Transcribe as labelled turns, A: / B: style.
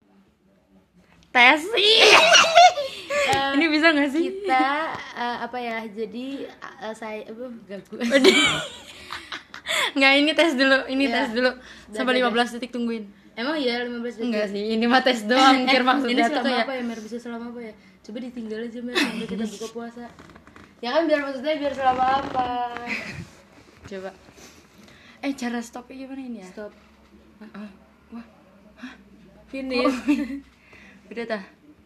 A: Tesi. Eh,
B: Ini bisa gak sih?
A: kita
B: Iya.
A: eh, apa ya? Jadi eh, saya aduh gagu.
B: Nggak, ini tes dulu, ini
A: Iya.
B: tes dulu
A: Udah,
B: Sampai
A: udah,
B: 15 detik tungguin
A: Emang ya 15 detik.
B: Enggak sih, ini mah tes doang
A: Eh,
B: Kir
A: Ini
B: maksudnya
A: selama
B: tuh ya
A: apa ya? Biar bisa selama apa ya? Coba ditinggal aja Mer sampai kita buka puasa. Ya kan biar maksudnya biar selama apa?
B: Coba Eh, cara stopnya gimana ini ya?
A: Stop.
B: Ah, Wah,
A: Finish.
B: iya. udah tah